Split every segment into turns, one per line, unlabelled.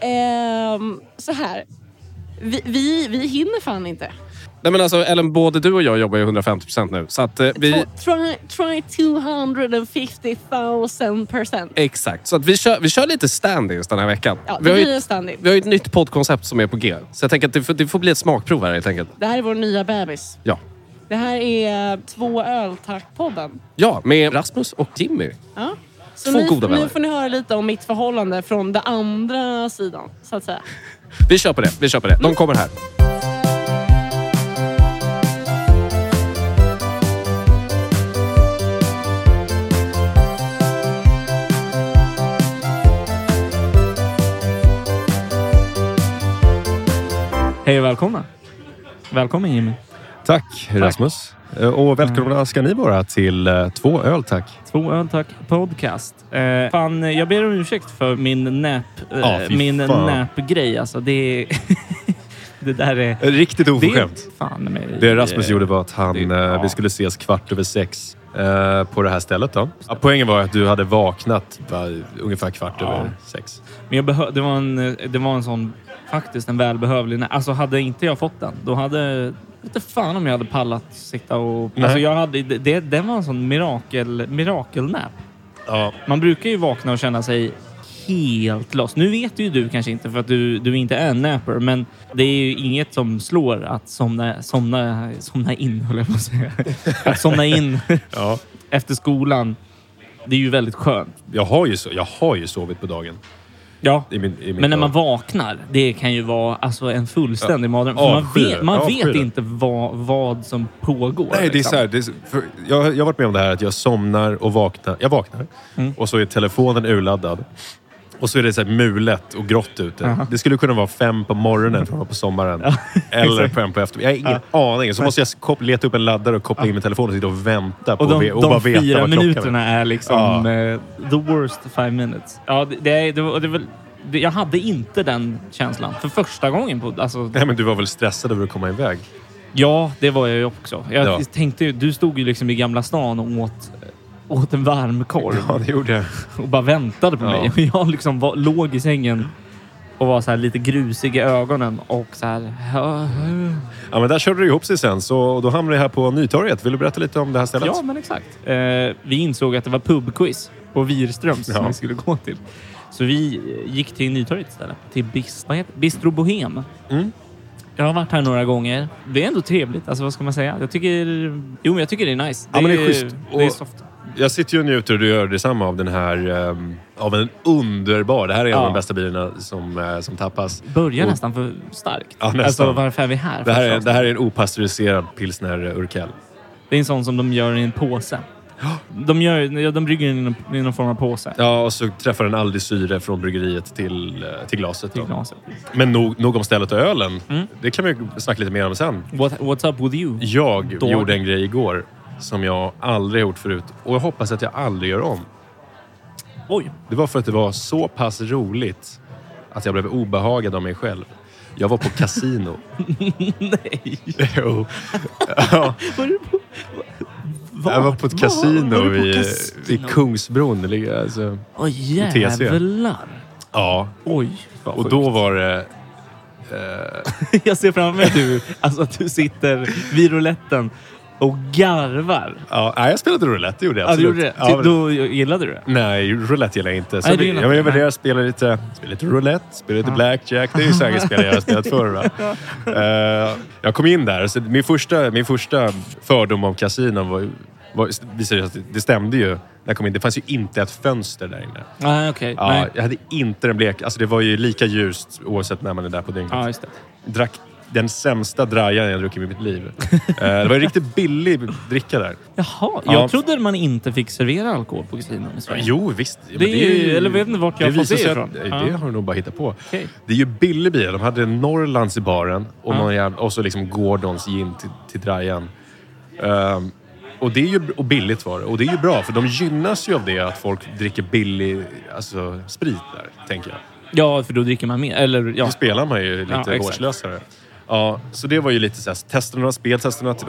Ehm, så här. Vi, vi, vi hinner fan inte.
Nej, men alltså, Ellen, både du och jag jobbar ju 150 procent nu. Så att, eh, vi,
Try, try 250 000 procent.
exakt. Så att vi, kör, vi kör lite stand-ins den här veckan.
Ja,
vi,
det
har
blir
ju,
en stand-in.
vi har ju ett nytt poddkoncept som är på G. Så jag tänker att det får, det får bli ett smakprov här helt enkelt.
Det här är vår nya bebis.
Ja.
Det här är Två öl tack-podden.
ja, med Rasmus och Jimmy.
Ja. Så
Två
nu,
goda vänner.
nu får ni höra lite om mitt förhållande från den andra sidan, så att säga.
Vi kör på det. Vi kör på det.
Mm.
De kommer här.
Hej och välkomna. Välkommen Jimmy.
Tack Rasmus. Eh, Och välkomna ska ni vara till eh, två öl tack.
Två öl tack podcast. Eh, fan, eh, jag ber om ursäkt för min näp, eh,
Ja, fy
min
fan.
näpgrej. Alltså, det, är- det där är...
Riktigt
Det,
oförskämt.
är- fan, men,
Det Rasmus gjorde var att han,
det- ja.
eh, vi skulle ses kvart över sex eh, på det här stället. Då. Ja, poängen var att du hade vaknat va, ungefär kvart
Ja.
över sex.
Men jag behö- det, var en, eh, det var en sån, faktiskt en välbehövlig nä- Alltså hade inte jag fått den, då hade... Jag vet inte fan om jag hade pallat sitta och...
Nej.
Alltså jag hade, det- det, den var en sån mirakel, mirakelnäp.
Ja.
Man brukar ju vakna och känna sig helt lost. Nu vet ju du kanske inte för att du, du inte är en napper, men det är ju inget som slår att somna, somna, somna in, höll jag på att säga. Att somna in
Ja.
efter skolan, det är ju väldigt skönt.
Jag, har ju so- jag har ju sovit på dagen.
Ja.
I min, i mitt
Men när man
dag.
vaknar, det kan ju vara alltså, en fullständig mardröm. För Man
Avskyr
vet,
det.
man
Avskyr
vet
det.
inte vad, vad som pågår.
Nej, det är
liksom.
så här, det är, så- för jag, jag har varit med om det här att jag somnar och vaknar. Jag vaknar
Mm.
och så är telefonen urladdad. Och så är det så här mulet och grått ute. Det skulle kunna vara fem på morgonen för att vara på sommaren. eller fem på eftermiddagen. Jag har ingen aning. Så måste jag kop- leta upp en laddare och koppla in min telefon och sitta och vänta på
Och de,
ve- och bara
de
veta
fyra
vad klockan
minuterna är liksom
Ja.
eh, the worst five minutes. Ja, det, det, är- det, var- det, var- det, jag hade inte den känslan för första gången. På, alltså,
Nej, men du var väl stressad över att komma iväg?
ja, det var jag ju också. Jag
Ja.
tänkte ju, du stod ju liksom i Gamla stan och åt, åt en varmkorv
Ja, det gjorde jag.
och bara väntade på
Ja.
mig. Och jag liksom var, låg i sängen och var så här lite grusig i ögonen och så här...
Ja, men där körde det ihop sig sen. Så och då hamnade jag här på Nytorget. Vill du berätta lite om det här stället?
Ja, men exakt. Eh, vi insåg att det var pubquiz på Virströms som
Ja.
vi skulle gå till. Så vi eh, gick till Nytorget istället. Till bis, vad heter, Bistro Bohem.
Mm.
Jag har varit här några gånger. Det är ändå trevligt. Alltså, vad ska man säga? Jag tycker, jo, men jag tycker det är nice.
Ja, men det är schysst.
Det är
Och-
soft.
Jag sitter ju och njuter och du gör detsamma av den här... ehm, av en underbar... Det här är en
Ja.
av de bästa bilarna som, eh, som tappas.
Börjar
Och-
nästan för starkt.
Ja, nästan.
Alltså, varför är vi här?
Det här är,
förstås?
det här är en opastöriserad pilsner eh, Urkel.
det är en sån som de gör i en påse. De, gör, ja, de brygger den i någon- i någon form av påse.
Ja, och så träffar den aldrig syre från bryggeriet till, eh, till glaset.
Till
då.
glaset. Mm.
Men nog, nog om stället och ölen. Det kan vi ju snacka lite mer om sen.
What, what's up with you?
Jag
Då-
gjorde en grej igår som jag aldrig gjort förut och jag hoppas att jag aldrig gör om.
Oj!
Det var för att det var så pass roligt att jag blev obehagad av mig själv. Jag var på kasino.
Nej!
Jo. ja.
Var du på... Var?
Jag var på ett
Var
kasino
du på
vid,
kasino?
vid Kungsbron. Det ligger, Alltså,
Åh
TSE.
jävlar!
ja,
Oj, vad
och
sjukt.
då var det...
Jag ser framför mig att du, alltså, att du sitter vid rouletten och garvar.
Ja, nej, jag spelade roulette, det gjorde jag
Ja, du
absolut.
gjorde det. Typ,
Ja, men-
Då gillade du det?
Nej, roulette gillar jag inte. Så
Nej,
nej,
du
det,
gillar
jag
inte,
överväger
nej.
att spela lite, spela lite roulette, spela lite blackjack. Det är ju säkert spel jag har spelat förr. Va? Eh, jag kom in där. Så min, första, min första fördom om kasinon var, ju- var, visade sig att det- det stämde ju. När jag kom in. Det fanns ju inte ett fönster där inne.
Nej, Ah, okej.
Ja,
Nej.
jag hade inte den blek... Alltså det var ju lika ljust oavsett när man är där på dygnet.
Ja, just det.
Drack den sämsta drajan jag druckit i mitt liv. Eh, det var en riktigt billig dricka där.
Jaha,
Ja.
jag trodde man inte fick servera alkohol på kasinon i Sverige.
Jo, visst. Ja, men
Det är ju- eller vet inte vart jag
det
fått det
visar sig att-
ifrån.
nej,
Ja.
Det har du nog bara hittat på.
Okej.
Det är ju billig bira. De hade Norrlands i baren och,
Ja.
någon jävla, och så liksom Gordons gin till, till drajan. Ehm, och, det är ju, och billigt var det. Och det är ju bra, för de gynnas ju av det att folk dricker billig alltså, sprit där, tänker jag.
Ja, för då dricker man mer. Eller
Då
ja.
spelar man ju
Ja,
lite
exakt.
vårdslösare. Ja, så det var ju lite såhär, testa några spel, testa några... Typ,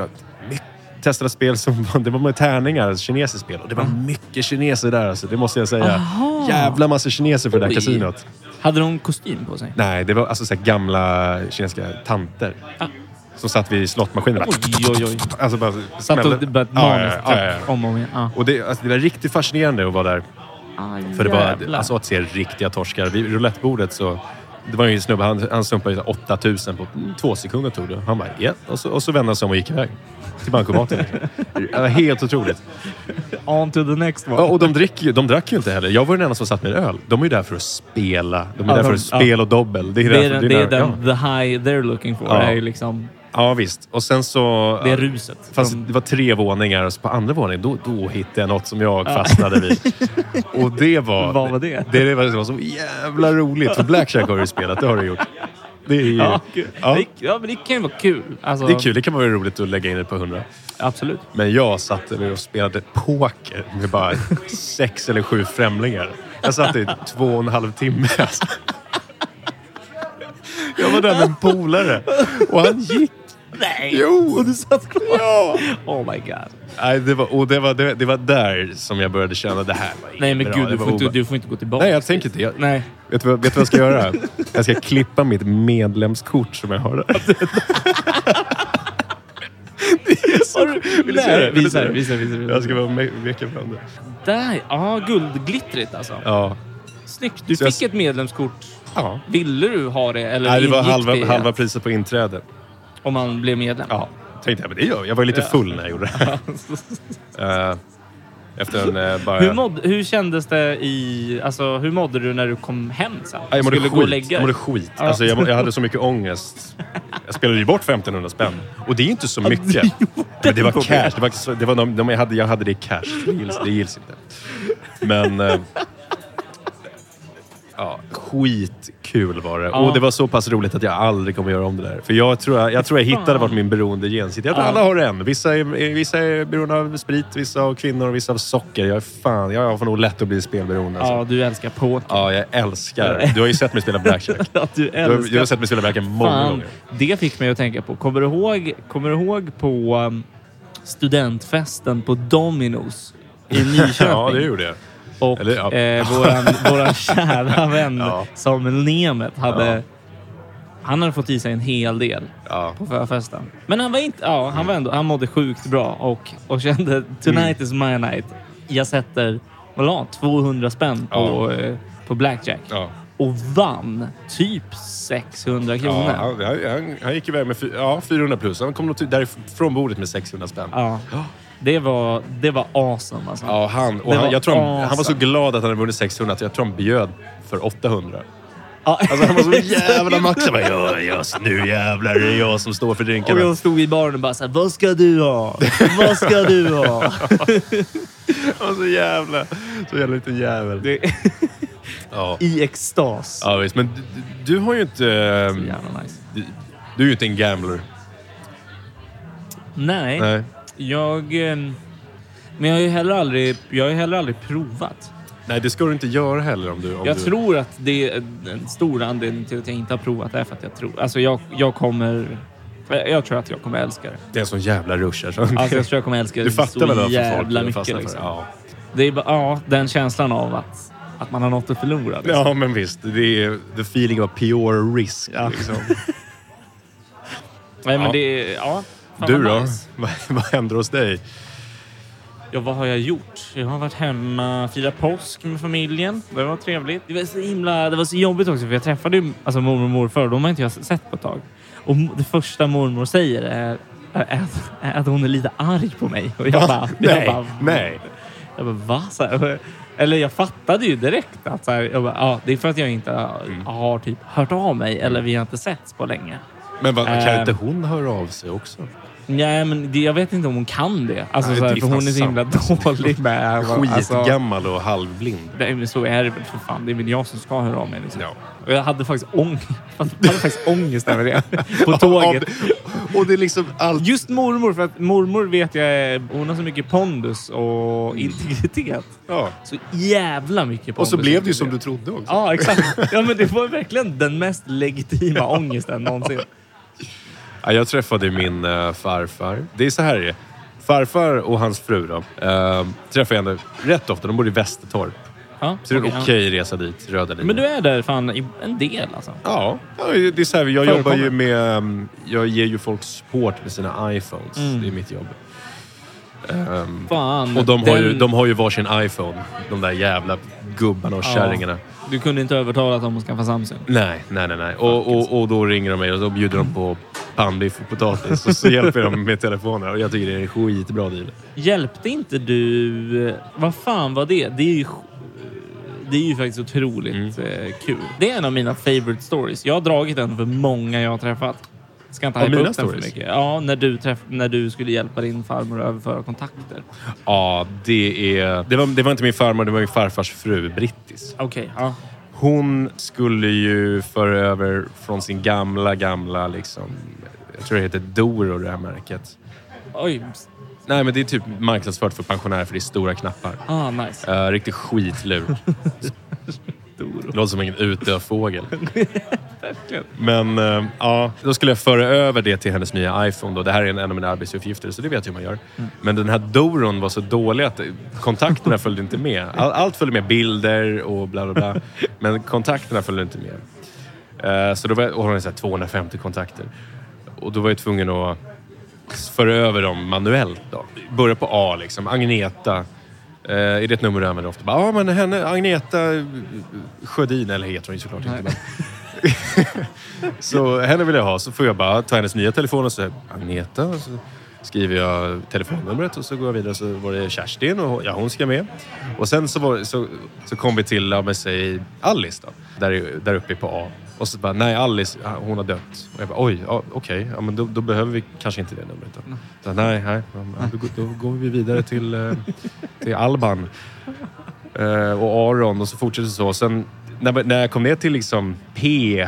mycket- testa några spel som var- det var med tärningar, kinesiskt spel. Och det var mycket kineser där alltså, det måste jag säga.
Aha.
Jävla massa kineser för det där
Oj.
kasinot.
Hade de kostym på sig?
Nej, det var alltså så här gamla kinesiska tanter. Som satt vid slottmaskinen.
Oj, oj, oj.
Alltså bara
Satt
smällde.
och typ bara ett
Ja,
manus typ,
ja, ja, ja, ja.
om och om igen. Ah. Ja.
Och det, alltså, det var riktigt fascinerande att vara där.
Ah,
För det var
jävlar.
alltså, att se riktiga torskar. Vid roulettebordet så... Det var ju en snubbe, han, han sumpade ju 8000 på mm, två sekunder tog det. Han bara, ja. Och så, och så vände han sig om och gick iväg. Till bankomaten. Det var helt otroligt.
On to the next one.
Ja, och de, dricker, ju- de drack ju inte heller. Jag var den enda som satt med en öl. De är ju där för att spela. De är
Ja,
där för
de-
att spela och dobbel. Det är,
det är,
därför-
den, det är
där-
den the high they're looking for.
Ja.
Det är ju liksom...
Ja. ja, visst. Och sen så...
Det är ruset.
Fast
de,
Alltså, det var tre våningar och så på andra våningen då, då hittade jag något som jag fastnade vid. Och det var...
Vad var det?
Det, det var, det var så jävla roligt. För Blackjack har du spelat, det har du gjort. Det är ju...
ja,
Ja,
kul. Det, ja, men det kan ju vara kul. Alltså,
det är kul. Det kan vara roligt att lägga in ett par hundra.
Absolut.
Men jag satt där och spelade poker med bara sex eller sju främlingar. Jag satt i två och en halv timme. Alltså. Jag var där med en polare och han gick.
Nej!
Jo!
Och du satt kvar?
Ja.
Oh my god.
Nej, det var, och det var, det, det var där som jag började känna det här var inte
Nej men
bra.
gud,
det
du
var
får, inte,
obe-
du får inte gå tillbaka.
Nej, jag tänker inte. Jag,
Nej.
Vet, du vad, vet du vad jag ska göra? Jag ska klippa mitt medlemskort som jag har där.
Har du-
Vill du se det?
Nej,
Vill du
Visa
se
det,
det?
visa det, visa det.
Jag ska bara me- veka fram det.
Där! Ja, guldglittrigt alltså.
Ja.
Snyggt. Du
Så jag-
fick ett medlemskort.
ja.
Ville du ha det? Eller
Nej, det var
ingick
halva,
det
halva priset på inträde.
Om man blev medlem?
Ja, tänkte jag. Men det gör jag. Jag var ju lite full när jag gjorde det här. Eh, efter en eh, bara...
Hur, mådde, hur kändes det i... Alltså, hur mådde du när du kom hem sen?
Ja, jag mådde
Skulle
skit.
gå och lägga
jag mådde
dig?
skit.
Ja.
Alltså, jag, må- jag hade så mycket ångest. Jag spelade ju bort 1500 spänn. Och det är ju inte så mycket. Men det var cash. Det var, så- det var de, de jag, hade, jag hade det i cash. Det gills, det gills inte. Men... Eh, ja, skitkul var det. Och det var så pass roligt att jag aldrig kommer göra om det där. För jag tror jag, jag, tror jag hittade vart min beroende sitter. Jag tror alla har en. Vissa är, är- vissa är beroende av sprit, vissa av kvinnor och vissa av socker. Jag är fan, jag får nog lätt att bli spelberoende. Alltså.
Ja, du älskar poker.
Ja, jag älskar. Du har ju sett mig spela blackjack.
Att du
Du har, du
älskar
har sett mig spela blackjack många
Fan,
gånger.
det fick mig att tänka på. Kommer du ihåg, kommer du ihåg på um, studentfesten på Dominos i Nyköping?
Ja, det gjorde jag.
Och
Eller, ja.
eh, våran, våran kära vän
Ja.
Samuel Nemeth hade...
Ja.
Han hade fått i sig en hel del
Ja.
på förfesten. Men han var inte... Ja, han var ändå... Han mådde sjukt bra och, och kände
Mm.
tonight is my night. Jag sätter, vad la han? 200 spänn på, eh, på blackjack.
Ja.
Och vann typ 600 kronor.
Ja, han, han- han, han gick iväg med fy, ja, 400 plus. Han kom nog till- därifrån bordet med 600 spänn.
Ja. Det var, det var awesome alltså.
Ja, han, och
Det
han,
var
jag tror han, han var så
awesome.
glad att han hade vunnit 600 att jag tror han bjöd för 800.
Ja.
Alltså, han var så jävla maxad. Bara, Ja, just nu jävlar är det jag som står för
Och
drinkarna.
jag stod i baren och bara såhär, vad ska du ha? Vad ska du ha?
Han var så jävla... Så jävla liten jävel.
Det-
Ja.
I extas.
ja, visst. Men du, du- du har ju inte...
Så
eh,
jävla nice.
Du, du är ju inte en gambler.
Nej,
Nej.
jag... eh, Men jag har ju heller aldrig, jag har ju heller aldrig provat.
Nej, det ska du inte göra heller om du... Om
Jag
du...
tror att det är en stor anledning till att jag inte har provat är för att jag tror... Alltså jag, jag kommer... Jag jag tror att jag kommer älska det.
Det är en sån jävla rush här. så-
Alltså jag tror jag kommer älska det
du
så
fattar väl varför folk
jävla
fastnar
mycket.
för det?
Liksom.
Ja.
Det är bara, ja, den känslan av att, att man har något att förlora. Liksom.
ja, men visst. Det är the feeling of pure risk. Liksom.
Nej, men
Ja.
det... Ja. Fan,
Du
vad
då?
nice.
Vad, vad händer hos dig?
Ja, vad har jag gjort? Jag har varit hemma och firat påsk med familjen. Det var trevligt. Det var så himla... Det var så jobbigt också för jag träffade ju alltså, mormor och morfar och de har inte jag sett på ett tag. Och mo- det första mormor säger är, är, att, är att hon är lite arg på mig. Och jag bara...
nej,
jag bara,
nej.
Jag bara va? Så här, eller jag fattade ju direkt att så här, jag bara, ja, det är för att jag inte har,
Mm.
har typ hört av mig eller vi har inte setts på länge.
Men vad, kan
Ehm.
inte hon höra av sig också?
Nej, men det, jag vet inte om hon kan det. Alltså,
Nej,
så
det
här,
är ju
för hon är
fan
så himla dålig med... alltså,
Skitgammal och halvblind.
Nej, men så är det väl för fan. Det är väl jag som ska höra av mig. Liksom.
Ja.
Och jag hade faktiskt, ång- jag hade faktiskt ångest över det på tåget.
Och det är liksom allt...
Just mormor, för att mormor vet jag är- hon har så mycket pondus och integritet.
Ja.
Så jävla mycket pondus.
Mm. Och så blev det ju som du
integritet.
trodde också.
Ja, exakt. Ja, men det var verkligen den mest legitima ångesten någonsin.
Ja, jag träffade min eh, farfar. Det är så här det är. ehm, Farfar och hans fru då, eh, träffar jag ändå rätt ofta. De bor i Västertorp.
Ja,
Så det är en
okej, ja.
okej resa dit, röda linjen.
Men du är där fan i- en del alltså.
Ja, ja, det är så här, jag
Förekommer.
jobbar ju med... um, Jag ger ju folk support med sina iPhones.
Mm.
Det är mitt jobb. Um,
Fan.
och de har, ju,
den-
de har ju varsin iPhone. De där jävla gubbarna och
Ja.
kärringarna.
Du kunde inte övertala dem att skaffa Samsung.
Nej, nej, nej. nej. Och, och, och då ringer de mig och då bjuder de på pannbiff och potatis. Och så hjälper de med telefoner. Och jag tycker det är en skitbra deal.
Hjälpte inte du... eh, Vad fan var det? Det är ju, det är ju faktiskt otroligt
Mm.
eh, kul. Det är en av mina favorite stories. Jag har dragit den för många jag har träffat. Ska inte
Av
hypa upp
mina
den för
stories?
mycket. Ja, när du, träff, när du skulle hjälpa din farmor att överföra kontakter.
Ja, det är... Det var, det var inte min farmor, det var min farfars fru, brittis.
Okej, ja.
Hon skulle ju föra över från sin gamla, gamla liksom... Jag tror det heter Doro, det här märket.
Oj.
Nej, men det är typ marknadsfört för pensionärer för det är stora knappar.
Ah, nice.
Uh, riktig skitlur. Låter som en utdöd fågel. Men eh, ja, då skulle jag föra över det till hennes nya iPhone. Då. Det här är en, en av mina arbetsuppgifter, så det vet jag hur man gör. Men den här Doron var så dålig att kontakterna följde inte med. All, allt följde med, bilder och bla bla bla. Men kontakterna följde inte med. Eh, så då var jag, och hon hade så här 250 kontakter. Och då var jag tvungen att föra över dem manuellt. Då. Börja på A, liksom. Agneta. Eh, är det ett nummer du använder ofta? Bara, Ja, men henne, Agneta Sjödin, eller heter hon ju såklart inte. Men. så henne vill jag ha. Så får jag bara ta hennes nya telefon och så Agneta. Och så skriver jag telefonnumret och så går jag vidare. Så var det Kerstin och hon- ja, hon ska med. Och sen så, var, så, så kom vi till, ja, men säg Alice då. Där, i- där uppe på A. Och så bara, nej Alice, ja, hon har dött. Och jag bara, oj, ja, okej. Ja, men då, då behöver vi kanske inte det numret då. Så, nej, nej. Ja, men Då, går- då går vi vidare till, eh, till Alban. Eh, och Aron och så fortsätter det så. Sen när, när jag kom ner till liksom P,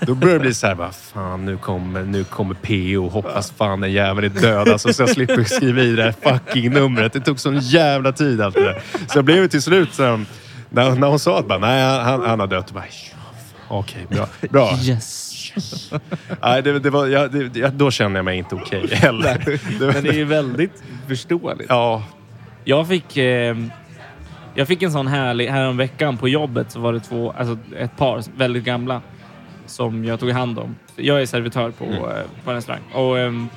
då började det bli så här, bara, fan nu kommer, nu kommer PO. Hoppas fan den jäveln är död alltså, så jag slipper skriva i det här fucking numret. Det tog sån jävla tid allt det där. Så jag blev ju till slut, sen, när, när hon sa att bara, nej, han, han har dött, jag bara, "Ja, fan, okej, bra. bra.
Yes.
Nej, det, det var, jag, det, jag- då kände jag mig inte okej heller. Det var-
Men det är ju väldigt förståeligt.
ja,
Jag fick, eh, jag fick en sån härlig... Häromveckan på jobbet så var det två, alltså ett par väldigt gamla som jag tog hand om. Jag är servitör på,
Mm.
eh, på en restaurang. Och, ehm,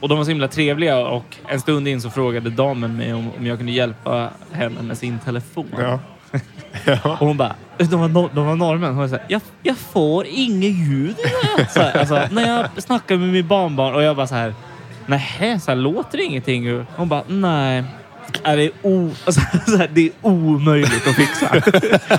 och de var så himla trevliga och en stund in så frågade damen mig om, om jag kunde hjälpa henne med sin telefon.
ja. ja.
Och hon bara, de var, nor- de var norrmän. Hon var så här, jag, jag får inget ljud i det här." så här, alltså, När jag snackar med min barnbarn och jag bara så här, nähä, så här, låter det ingenting? ur?" Hon bara, nej. Är det, är o- alltså, så här, det är omöjligt att fixa.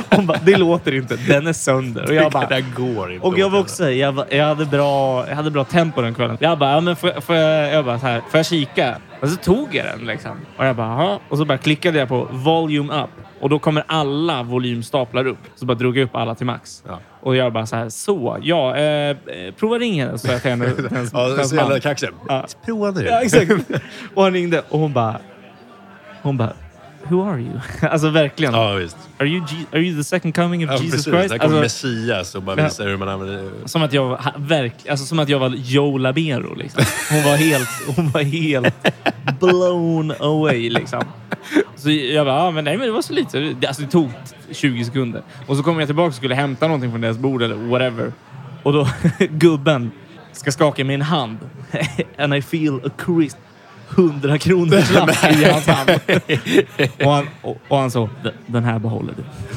Hon bara, det låter inte. Den är sönder. Och jag bara,
det där går inte.
och jag var
åt
också jag, bara- jag, hade bra, jag hade bra tempo den kvällen. Jag bara, ja, men får, får, jag, jag bara så här, får jag kika? Och så tog jag den liksom. Och jag bara, Aha. Och så bara klickade jag på volume up. Och då kommer alla volymstaplar upp. Så bara drog jag upp alla till max.
Ja.
Och jag bara så här, så, ja, eh, eh, prova ring henne. Så jag till henne. till hennes- till
Ja,
hennes
så jävla
man.
kaxig.
Ja.
Prova nu.
Ja, exakt. Och han ringde och hon bara... Hon bara... Who are you? Alltså verkligen.
Ja, visst.
Are, you Je- are you the second coming of
Ja,
Jesus
precis.
Christ?
Där kommer
Alltså-
Messias och bara
Ja.
visar hur man använder...
Som att jag, var- ha- verk, alltså som att jag var Joe Labero. Liksom. Hon, var helt, hon var helt blown away. Liksom. Så jag bara, ah, men nej, men det var så lite. Det- Alltså, det tog 20 sekunder. Och så kommer jag tillbaka och skulle hämta någonting från deras bord eller whatever. Och då gubben ska skaka min hand. And I feel a crisp 100 kronor i hans hand. Och han, och, och han så, "Den- den här behåller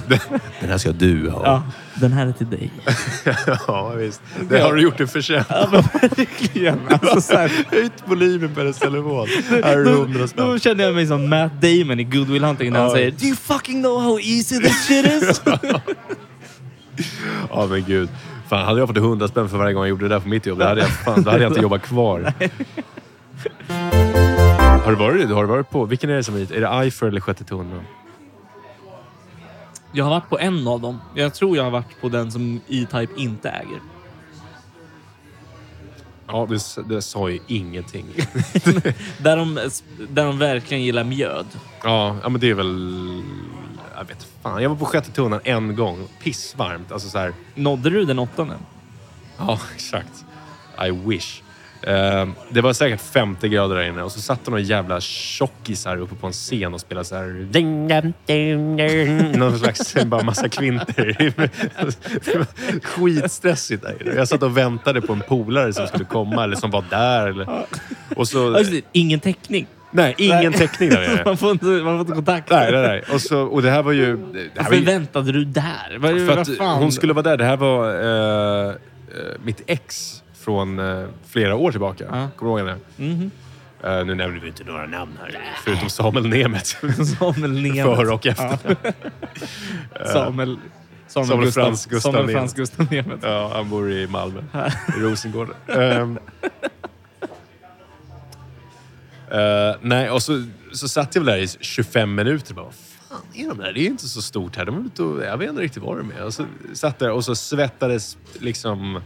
du.
Den här ska du ha.
Ja, den här är till dig.
ja, visst. Det har du gjort en förtjänst.
Verkligen. Alltså, så här,
Höjt volymen på hennes telefon. Här är det
Då,
hundra
då
spänn.
kände jag mig som Matt Damon i Good Will Hunting när han
Ja.
säger Do you fucking know how easy this shit is?
Ja, men gud. Fan, hade jag fått hundra spänn för varje gång jag gjorde det där på mitt jobb, då hade jag, fan, då hade jag inte jobbat kvar. Har du varit Har du varit på... Vilken är det som är hit? Är det Eiffel eller Sjätte tunneln?
jag har varit på en av dem. Jag tror jag har varit på den som E-Type inte äger.
Ja, det, s- det sa ju ingenting.
Där de, där de verkligen gillar mjöd.
Ja, ja men det är väl... Jag vet fan. Jag var på sjätte tunnan en gång. Pissvarmt. Alltså så här...
Nådde du den åttonde?
Ja, exakt. I wish. Eh, det var säkert 50 grader där inne och så satt det några jävla tjockisar uppe på en scen och spelade så här... Ding, dam, ding, ding. Någon slags bara massa kvinter. Det var Skitstressigt där inne. Jag satt och väntade på en polare som skulle komma eller som var där. Eller. Och så,
Alltså, ingen täckning.
nej, ingen täckning där inne.
Man får inte, man får inte kontakt.
Nej, nej, nej. Och, så, och det här var ju... Det här var
Varför
ju
väntade du där? Vad,
för
vad
att
fan?
hon skulle vara där. Det här var eh, eh, mitt ex från eh, flera år tillbaka. Kommer du ihåg det? Eh, nu nämner vi inte några namn här, förutom Samuel Nemeth.
Samuel Nemeth.
Före och efter.
Samuel... Samuel,
Samuel
Gustav,
Frans Gustav
Samuel
Nemeth.
Frans Gustav Nemeth.
Ja, han bor i Malmö. I Rosengård. Ehm. Eh, nej, och så, så satt jag väl där i 25 minuter och bara, vad fan är de där? Det är ju inte så stort här. De är ute och, jag vet inte riktigt vad de är. Och så satt där och så svettades liksom...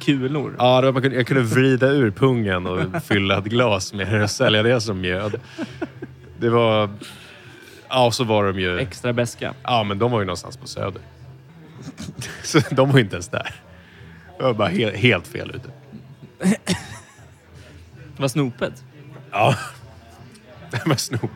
Kulor.
Ja, det var, man kunde, jag kunde vrida ur pungen och fylla ett glas med det och sälja det som mjöd. Det var... Ja, och så var de ju...
Extra beska.
Ja, men de var ju någonstans på Söder. Så de var ju inte ens där. Det var bara he- helt fel ute.
Vad snopet.
Ja. Men snor.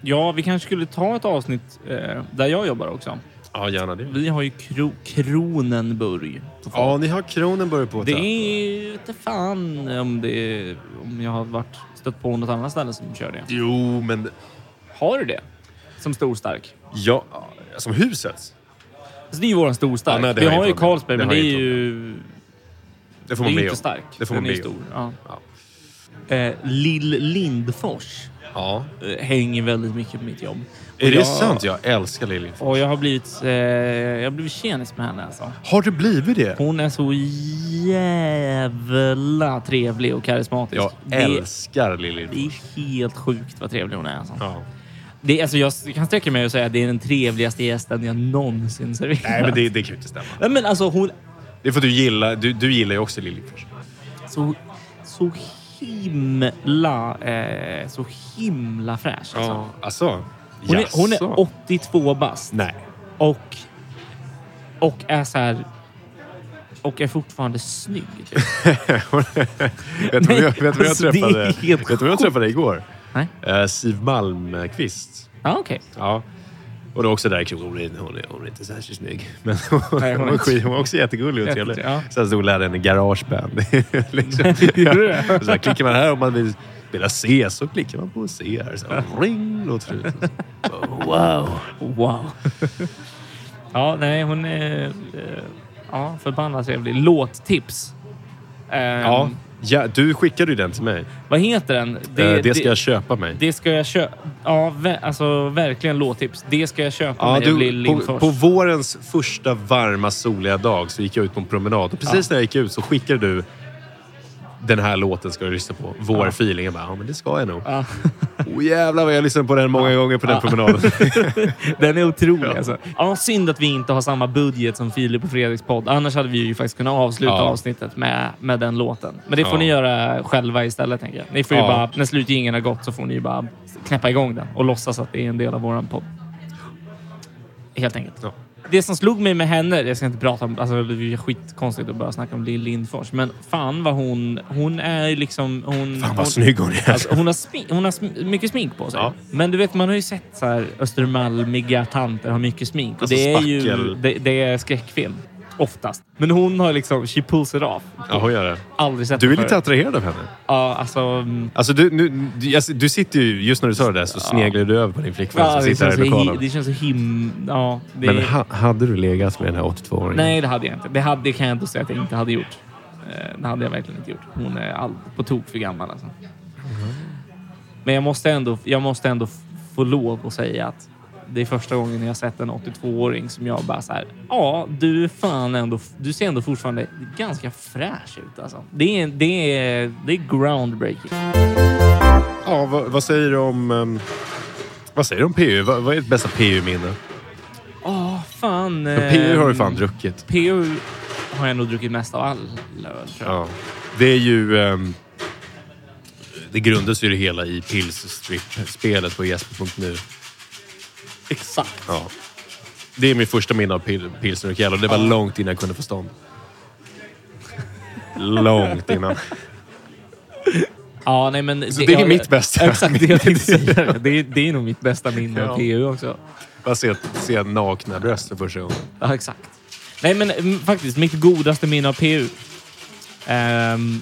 Ja, vi kanske skulle ta ett avsnitt eh, där jag jobbar också.
Ja, gärna det.
Vi har ju kro Kronenburg.
Ja, ni har Kronenburg på
Det
ett-
är ju inte fan om, det är, om jag har varit, stött på något annat ställe som kör det.
Jo, men...
Har du det? Som storstark?
Ja, som huset.
Alltså det är ju våran storstark.
Ja, nej, det
vi
har jag
har ju
inte varit med
Carlsberg,
om. Det
men
har
det
jag
är
inte
ju...
Det får
Det är
man
ju
bli
inte
om.
stark.
Det får man
Den är
bli
ju stor.
om.
Ja.
Ja.
Eh, Lill Lindfors
ja.
eh, hänger väldigt mycket på mitt jobb. Och
Är det
jag-
sant? Jag älskar Liljefors.
Och jag har blivit, eh, jag har blivit tjenis med henne alltså.
Har du blivit det?
Hon är så jävla trevlig och karismatisk.
Jag
Det-
älskar
Det
Liljefors.
är helt sjukt vad trevlig hon är. Alltså.
Ja.
Det, är- alltså, jag kan sträcka mig och säga att det är den trevligaste gästen jag någonsin serverat.
Nej, men det, det kan ju inte stämma.
Nej, men alltså hon
Det är för att du gillar... Du, du gillar ju också Liljefors.
så, så himla, eh, så himla fräsch. Alltså.
Alltså?
Hon, är, hon
Jaså?
är 82 bast
Nej.
och, och är så här och är fortfarande snygg. typ.
Vet du
Nej,
vad jag, vet du vad jag
alltså, det är
träffade?
helt
Vet du vad jag träffade igår?
Nej.
Eh, Siv Malmqvist.
Ja, okej.
Ja. Och det var också där i Kron. Hon, är- hon, är- hon är inte särskilt snygg. Men hon,
är
hon, var
inte.
skit, hon var också jättegullig och
Jätte-
trevlig.
ja.
Sen stod och lärde henne garageband. liksom.
Gjorde du det?
Och så här, klickar man här om man vill spela C så klickar man på C. Här. Så här, ring, låter det ut. Oh, Wow.
Wow. ja, nej, hon är eh, ja, förbannat trevlig. Låttips. Ehm,
Ja. Ja, du skickade ju den till mig.
Vad heter den?
Det, Eh, det ska jag köpa mig.
Det ska jag köpa. Ja, ver- alltså verkligen låttips. Det ska jag köpa
Ja,
när jag blir
du, på,
Lindfors.
på vårens första varma soliga dag så gick jag ut på en promenad och precis när jag gick ut så skickade du den här låten ska du lyssna på. Vår feeling. Jag bara, ja men det ska jag nog.
Ja.
Oh, jävlar vad jag lyssnade på den många gånger på den promenaden.
Den är otrolig alltså. Ja, synd att vi inte har samma budget som Filip och Fredriks podd. Annars hade vi ju faktiskt kunnat avsluta
Ja.
avsnittet med, med den låten. Men det får
Ja.
ni göra själva istället, tänker jag. Ni får ju
Ja.
bara, när slutgingen har gått så får ni ju bara knäppa igång den och låtsas att det är en del av våran podd. Helt enkelt.
Ja.
Det som slog mig med henne, jag ska inte prata om, alltså det är skitkonstigt att börja snacka om Lill Lindfors, men fan vad hon, hon är ju liksom... Hon,
Fan
hon,
vad snygg hon är.
Alltså, hon har, smi- hon har sm- mycket smink på sig.
Ja.
Men du vet, man har ju sett så här Östermalmiga tanter har mycket smink. Och
Alltså
det är ju
spackel.
det, det är skräckfilm. Oftast. Men hon har liksom... She pulls it off.
Ja, hon gör det.
Aldrig sett
Du är
det
lite
förut.
attraherad av henne.
Ja, alltså... mm,
Alltså du, nu, du, jag- du sitter ju, just när du sa det där så sneglar du över på din flickvän
ja,
som
det,
sitter
känns
här
så hi,
i
det
lokalen.
känns så him... Ja, det,
Men ha, hade du legat med den här 82-åringen?
Nej, det hade jag inte. Det, hade, det kan jag inte säga att jag inte hade gjort. Eh, Det hade jag verkligen inte gjort. Hon är all, på tok för gammal alltså.
Mm.
Men jag måste, ändå, jag måste ändå f- få lov att säga att det är första gången jag har sett en 82-åring som jag bara så här. Ja, du är fan ändå. f- Du ser ändå fortfarande ganska fräsch ut alltså. Det är, det är, det är groundbreaking.
Ja, vad, vad säger du om... ehm, vad säger du om PU? Vad, vad är ditt bästa PU-minne?
Åh, fan.
För PU har du
Ehm.
fan druckit.
PU har jag nog druckit mest av alla öl, tror jag.
Ja. Det är ju... ehm, det grundas ju det hela i Pils-spelet på Jesper.nu.
Exakt.
Ja. Det är min första minne av pil, pilsner och och det var långt innan jag kunde få stånd. långt innan.
Ja, nej, men
Så Alltså, det är mitt bästa.
Exakt det jag tänkte säga. Det är, det är nog mitt bästa minne
Ja.
av PU också.
Bara se, se nakna bröst för första gången.
Ja, exakt. Nej, men mm, faktiskt mitt godaste minne av PU. Ehm,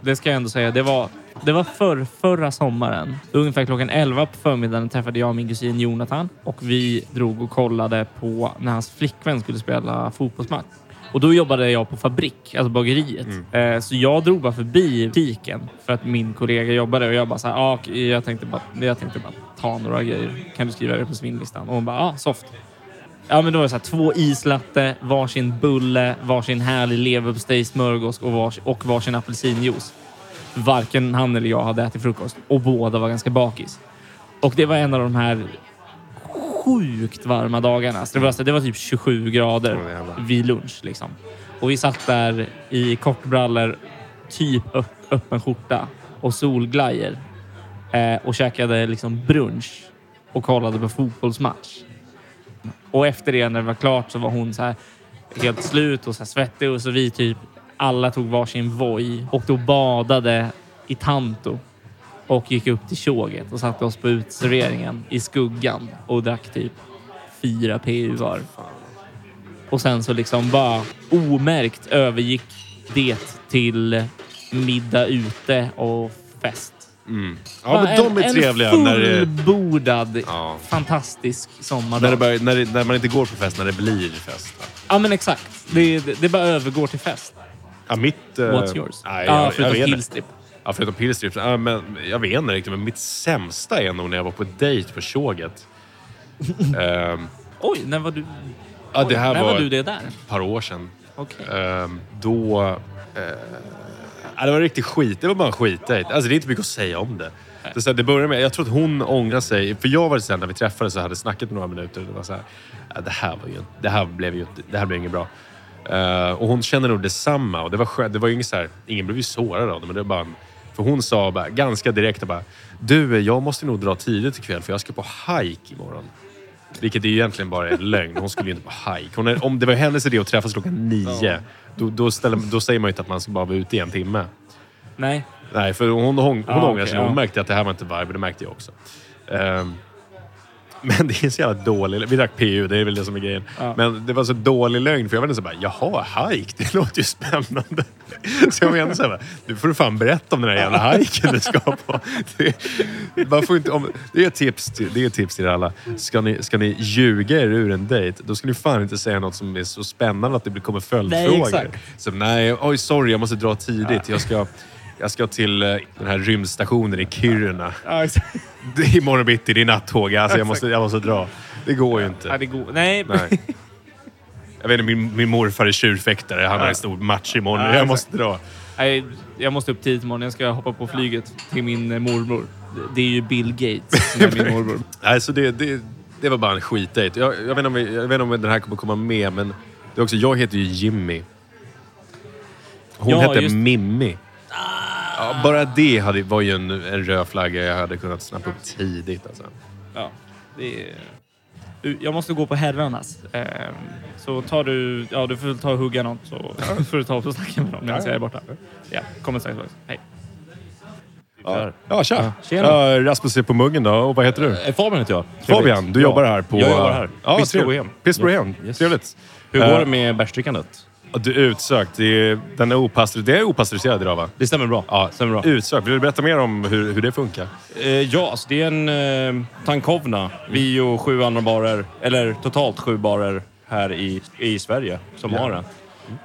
det ska jag ändå säga. Det var, det var för, förra sommaren. Ungefär klockan 11 på förmiddagen träffade jag min kusin Jonathan och vi drog och kollade på när hans flickvän skulle spela fotbollsmatch. Och då jobbade jag på fabrik, alltså bageriet. Eh, så jag drog bara förbi butiken för att min kollega jobbade och jag bara så här, ah, okej, jag, tänkte bara, jag tänkte bara ta några grejer. Kan du skriva det på svinlistan? Och hon bara, ja, ah, soft. Ja, men då var det så här, två islatte, varsin bulle, varsin härlig leverpastej, smörgås och, vars, och varsin apelsinjuice. Varken han eller jag hade ätit frukost och båda var ganska bakis. Och det var en av de här sjukt varma dagarna. Så det, var, så det var typ 27 grader
Åh, jävlar.
vid lunch. Liksom. Och vi satt där i kortbrallor, typ ö- öppen skjorta och solglajjor eh, och käkade liksom brunch och kollade på fotbollsmatch. Och efter det, när det var klart, så var hon så här helt slut och så här svettig. Och så vi typ alla tog varsin voj och då badade i Tanto och gick upp till tjoget och satte oss på uteserveringen i skuggan och drack typ fyra PU var. Och sen så liksom bara omärkt övergick det till middag ute och fest.
Ja, men de är
en,
trevliga
en
när, det,
fullbordad,
Ja.
fantastisk sommardag.
när, det börjar, när, det, när man inte går på fest, när det blir fest.
Ja, men exakt. Det, det, det bara övergår till fest.
Ja, mitt... eh,
What's yours?
Nej,
ja,
jag,
förutom
jag vet inte.
Pillstrip.
Ja, förutom pillstrips. Ja, men jag vet inte riktigt, men mitt sämsta är nog när jag var på dejt på tjoget. Ehm,
Oj, när var du...
ja, det här
när
var,
var du det där?
ett par år sedan.
Okej.
Ehm, då... eh, ja, det var riktigt skit. Det var bara en skitdejt. Alltså, det är inte mycket att säga om det. Det, är så här, det började med... Jag tror att hon ångrar sig. För jag var så här, när vi träffades och hade snackat i några minuter. Det var så här... Ja, det här var ju... Det här blev ju... Det här blev inget bra. Eh, och hon känner nog detsamma. Och det var skönt. Det var ju inget så här... Ingen blev ju sårad av det, men det var bara en, För hon sa bara, ganska direkt bara... Du, jag måste nog dra tidigt ikväll för jag ska på hike imorgon. Vilket är ju egentligen bara en lögn. Hon skulle ju inte på hike. Hon är, om det var hennes idé att träffas klockan nio, då, då, ställer, då säger man ju inte att man ska bara vara ute i en timme.
Nej.
Nej, för hon, hon, hon
Ja,
ångrar
Ah, okej,
sig. Hon
ja.
märkte att det här var inte vibe. Det märkte jag också. Ehm, men det är så jävla dålig... Vi drack PU, det är väl det som är grejen.
Ja.
Men det var så dålig lögn, för jag var ändå så bara “Jaha, hike? Det låter ju spännande”. Så jag var ändå så här, bara, nu får du fan berätta om den här jävla hiken du ska på. Det, man får inte, om, det är ett tips till, det är ett tips till er alla. Ska ni, ska ni ljuga er ur en dejt, då ska ni fan inte säga något som är så spännande att det blir- kommer
Nej,
följdfrågor.
exakt.
Så, nej, oj sorry, jag måste dra tidigt. Jag ska, jag ska till eh, den här rymdstationen i Kiruna.
Ja, exakt.
Det är imorgon bitti, det är nattåg. Alltså, jag, måste, jag måste dra. Det går ju inte.
Ja, det går. Nej.
Nej. Jag vet inte, min, min morfar är tjurfäktare. Han har en stor match imorgon. Jag måste dra.
Nej, jag måste upp tidigt imorgon. Jag ska hoppa på flyget till min eh, mormor. Det är ju Bill Gates som är min mormor.
Nej, så det, det, det var bara en skitdejt. Jag, jag, vet inte om vi- jag vet inte om den här kommer komma med, men det är också, jag heter ju Jimmy. Hon
Ja,
hette
just- Ah.
Mimmi. Ja, bara det hade, var ju en, en röd flagga jag hade kunnat snappa upp tidigt. Alltså.
Ja, det är... Du, Jag måste gå på herrarnas. Ehm, Så tar du... Ja, du får väl ta och hugga någon så får du ta och snacka med dem medan jag är borta. Ja, kommer strax tillbaka. Hej.
Ja, ja tja!
Tjena.
Ja, Rasmus är på muggen då. Och vad heter du?
Eh, Fabian heter jag.
Fabian, du
Ja.
jobbar här på...
Jag jobbar här.
Ja,
Pissprohem.
Pissprohem.
Yes.
Trevligt.
Hur går
Eh,
det med bärsdrickandet?
Ja, Du är utsökt. Det är, den är opastor, det är opastöriserad idag va?
Det stämmer bra.
Ja,
stämmer bra.
Utsökt. Vill du berätta mer om hur, hur det funkar?
Eh, ja, alltså det är en eh, Tankovna. Vi och sju andra barer, eller totalt sju barer här i, i Sverige som har den.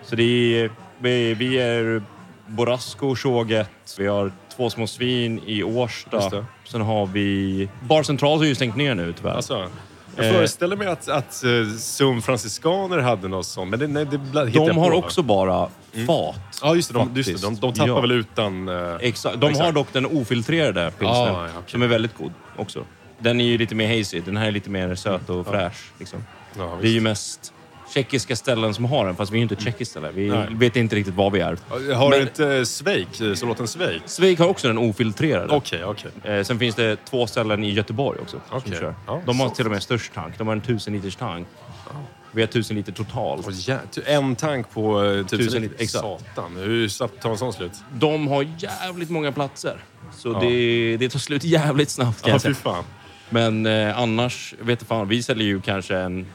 Så det är, vi, vi är Borasco, Tjoget, vi har Två små svin i
Just
Årsta.
det.
Sen har vi... Bar Central har ju stängt ner nu tyvärr.
Alltså, jag
Eh.
föreställer mig att, att eh, Zoom Franciscaner hade något sånt, men det, nej, det bla- hittar jag
de
på, Mm.
har
va?
också bara fat.
Ja, just det. De, just det, de, de
Faktiskt.
tappar
Ja.
väl utan... eh,
Exakt. De har dock den ofiltrerade pilsnern,
Ah, ja, okej.
som är väldigt god också. Den är ju lite mer hazy. Den här är lite mer söt och fräsch. Liksom.
Mm. Ja,
det är ju
visst.
mest tjeckiska ställen som har den, fast vi är ju inte ett tjeckiskt ställe. Vi
Nej.
vet inte riktigt vad vi är.
Har
Men-
du inte eh, Sveik, eh, så låt en Sveik?
Sveg har också den ofiltrerade.
Okej, okej.
Eh, sen finns det två ställen i Göteborg också
Okej.
som kör.
Ja,
de har
så-
till och med störst tank. De har en 1000 liters tank. Vi har 1000 liter totalt.
Åh, jä- en tank på eh,
Tusen
tusen
liter,
liter.
exakt.
Satan, hur snabbt tar en sån slut?
De har jävligt många platser. Så det, det tar slut jävligt snabbt kan
Ja,
jag
fy
säga.
fan.
Men eh, annars, jag vet inte fan, vi säljer ju kanske en...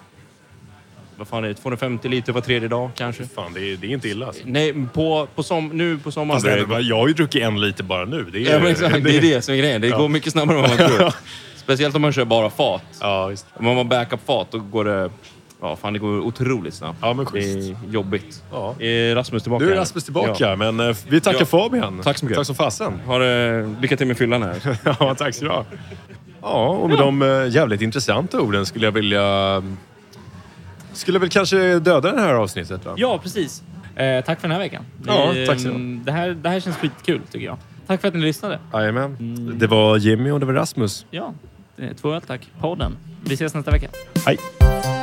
Vad fan är det? 250 liter var tredje dag kanske?
Fan, det, är, det är inte illa. Alltså.
Nej, på, på som, nu på sommaren...
Fast det är bara- jag har ju druckit en liter bara nu. Det är,
ja, men exakt, det är det som är grejen. Det går mycket snabbare än vad man tror. Speciellt om man kör bara fat.
Ja, visst.
Om man har backup-fat då går det... Ja, fan det går otroligt snabbt.
Ja, men
det
schysst.
är jobbigt.
Ja.
Är Rasmus tillbaka?
Nu är
eller?
Rasmus tillbaka, men eh, vi tackar
Ja.
Fabian.
Tack så mycket.
Tack som fasen.
Ja. Har, eh, lycka till med fyllan här.
ja, tack så du ha. Ja, och med de eh, jävligt intressanta orden skulle jag vilja... Skulle väl kanske döda det här avsnittet, va?
Ja, precis. Eh, tack för den här veckan.
Ja,
Vi,
tack så
eh,
mycket.
det, här, det här känns skitkul tycker jag. Tack för att ni lyssnade.
Jajamän. Det var Jimmy och det var Rasmus.
Ja, eh, två öl tack. Podden. Vi ses nästa vecka.
Hej!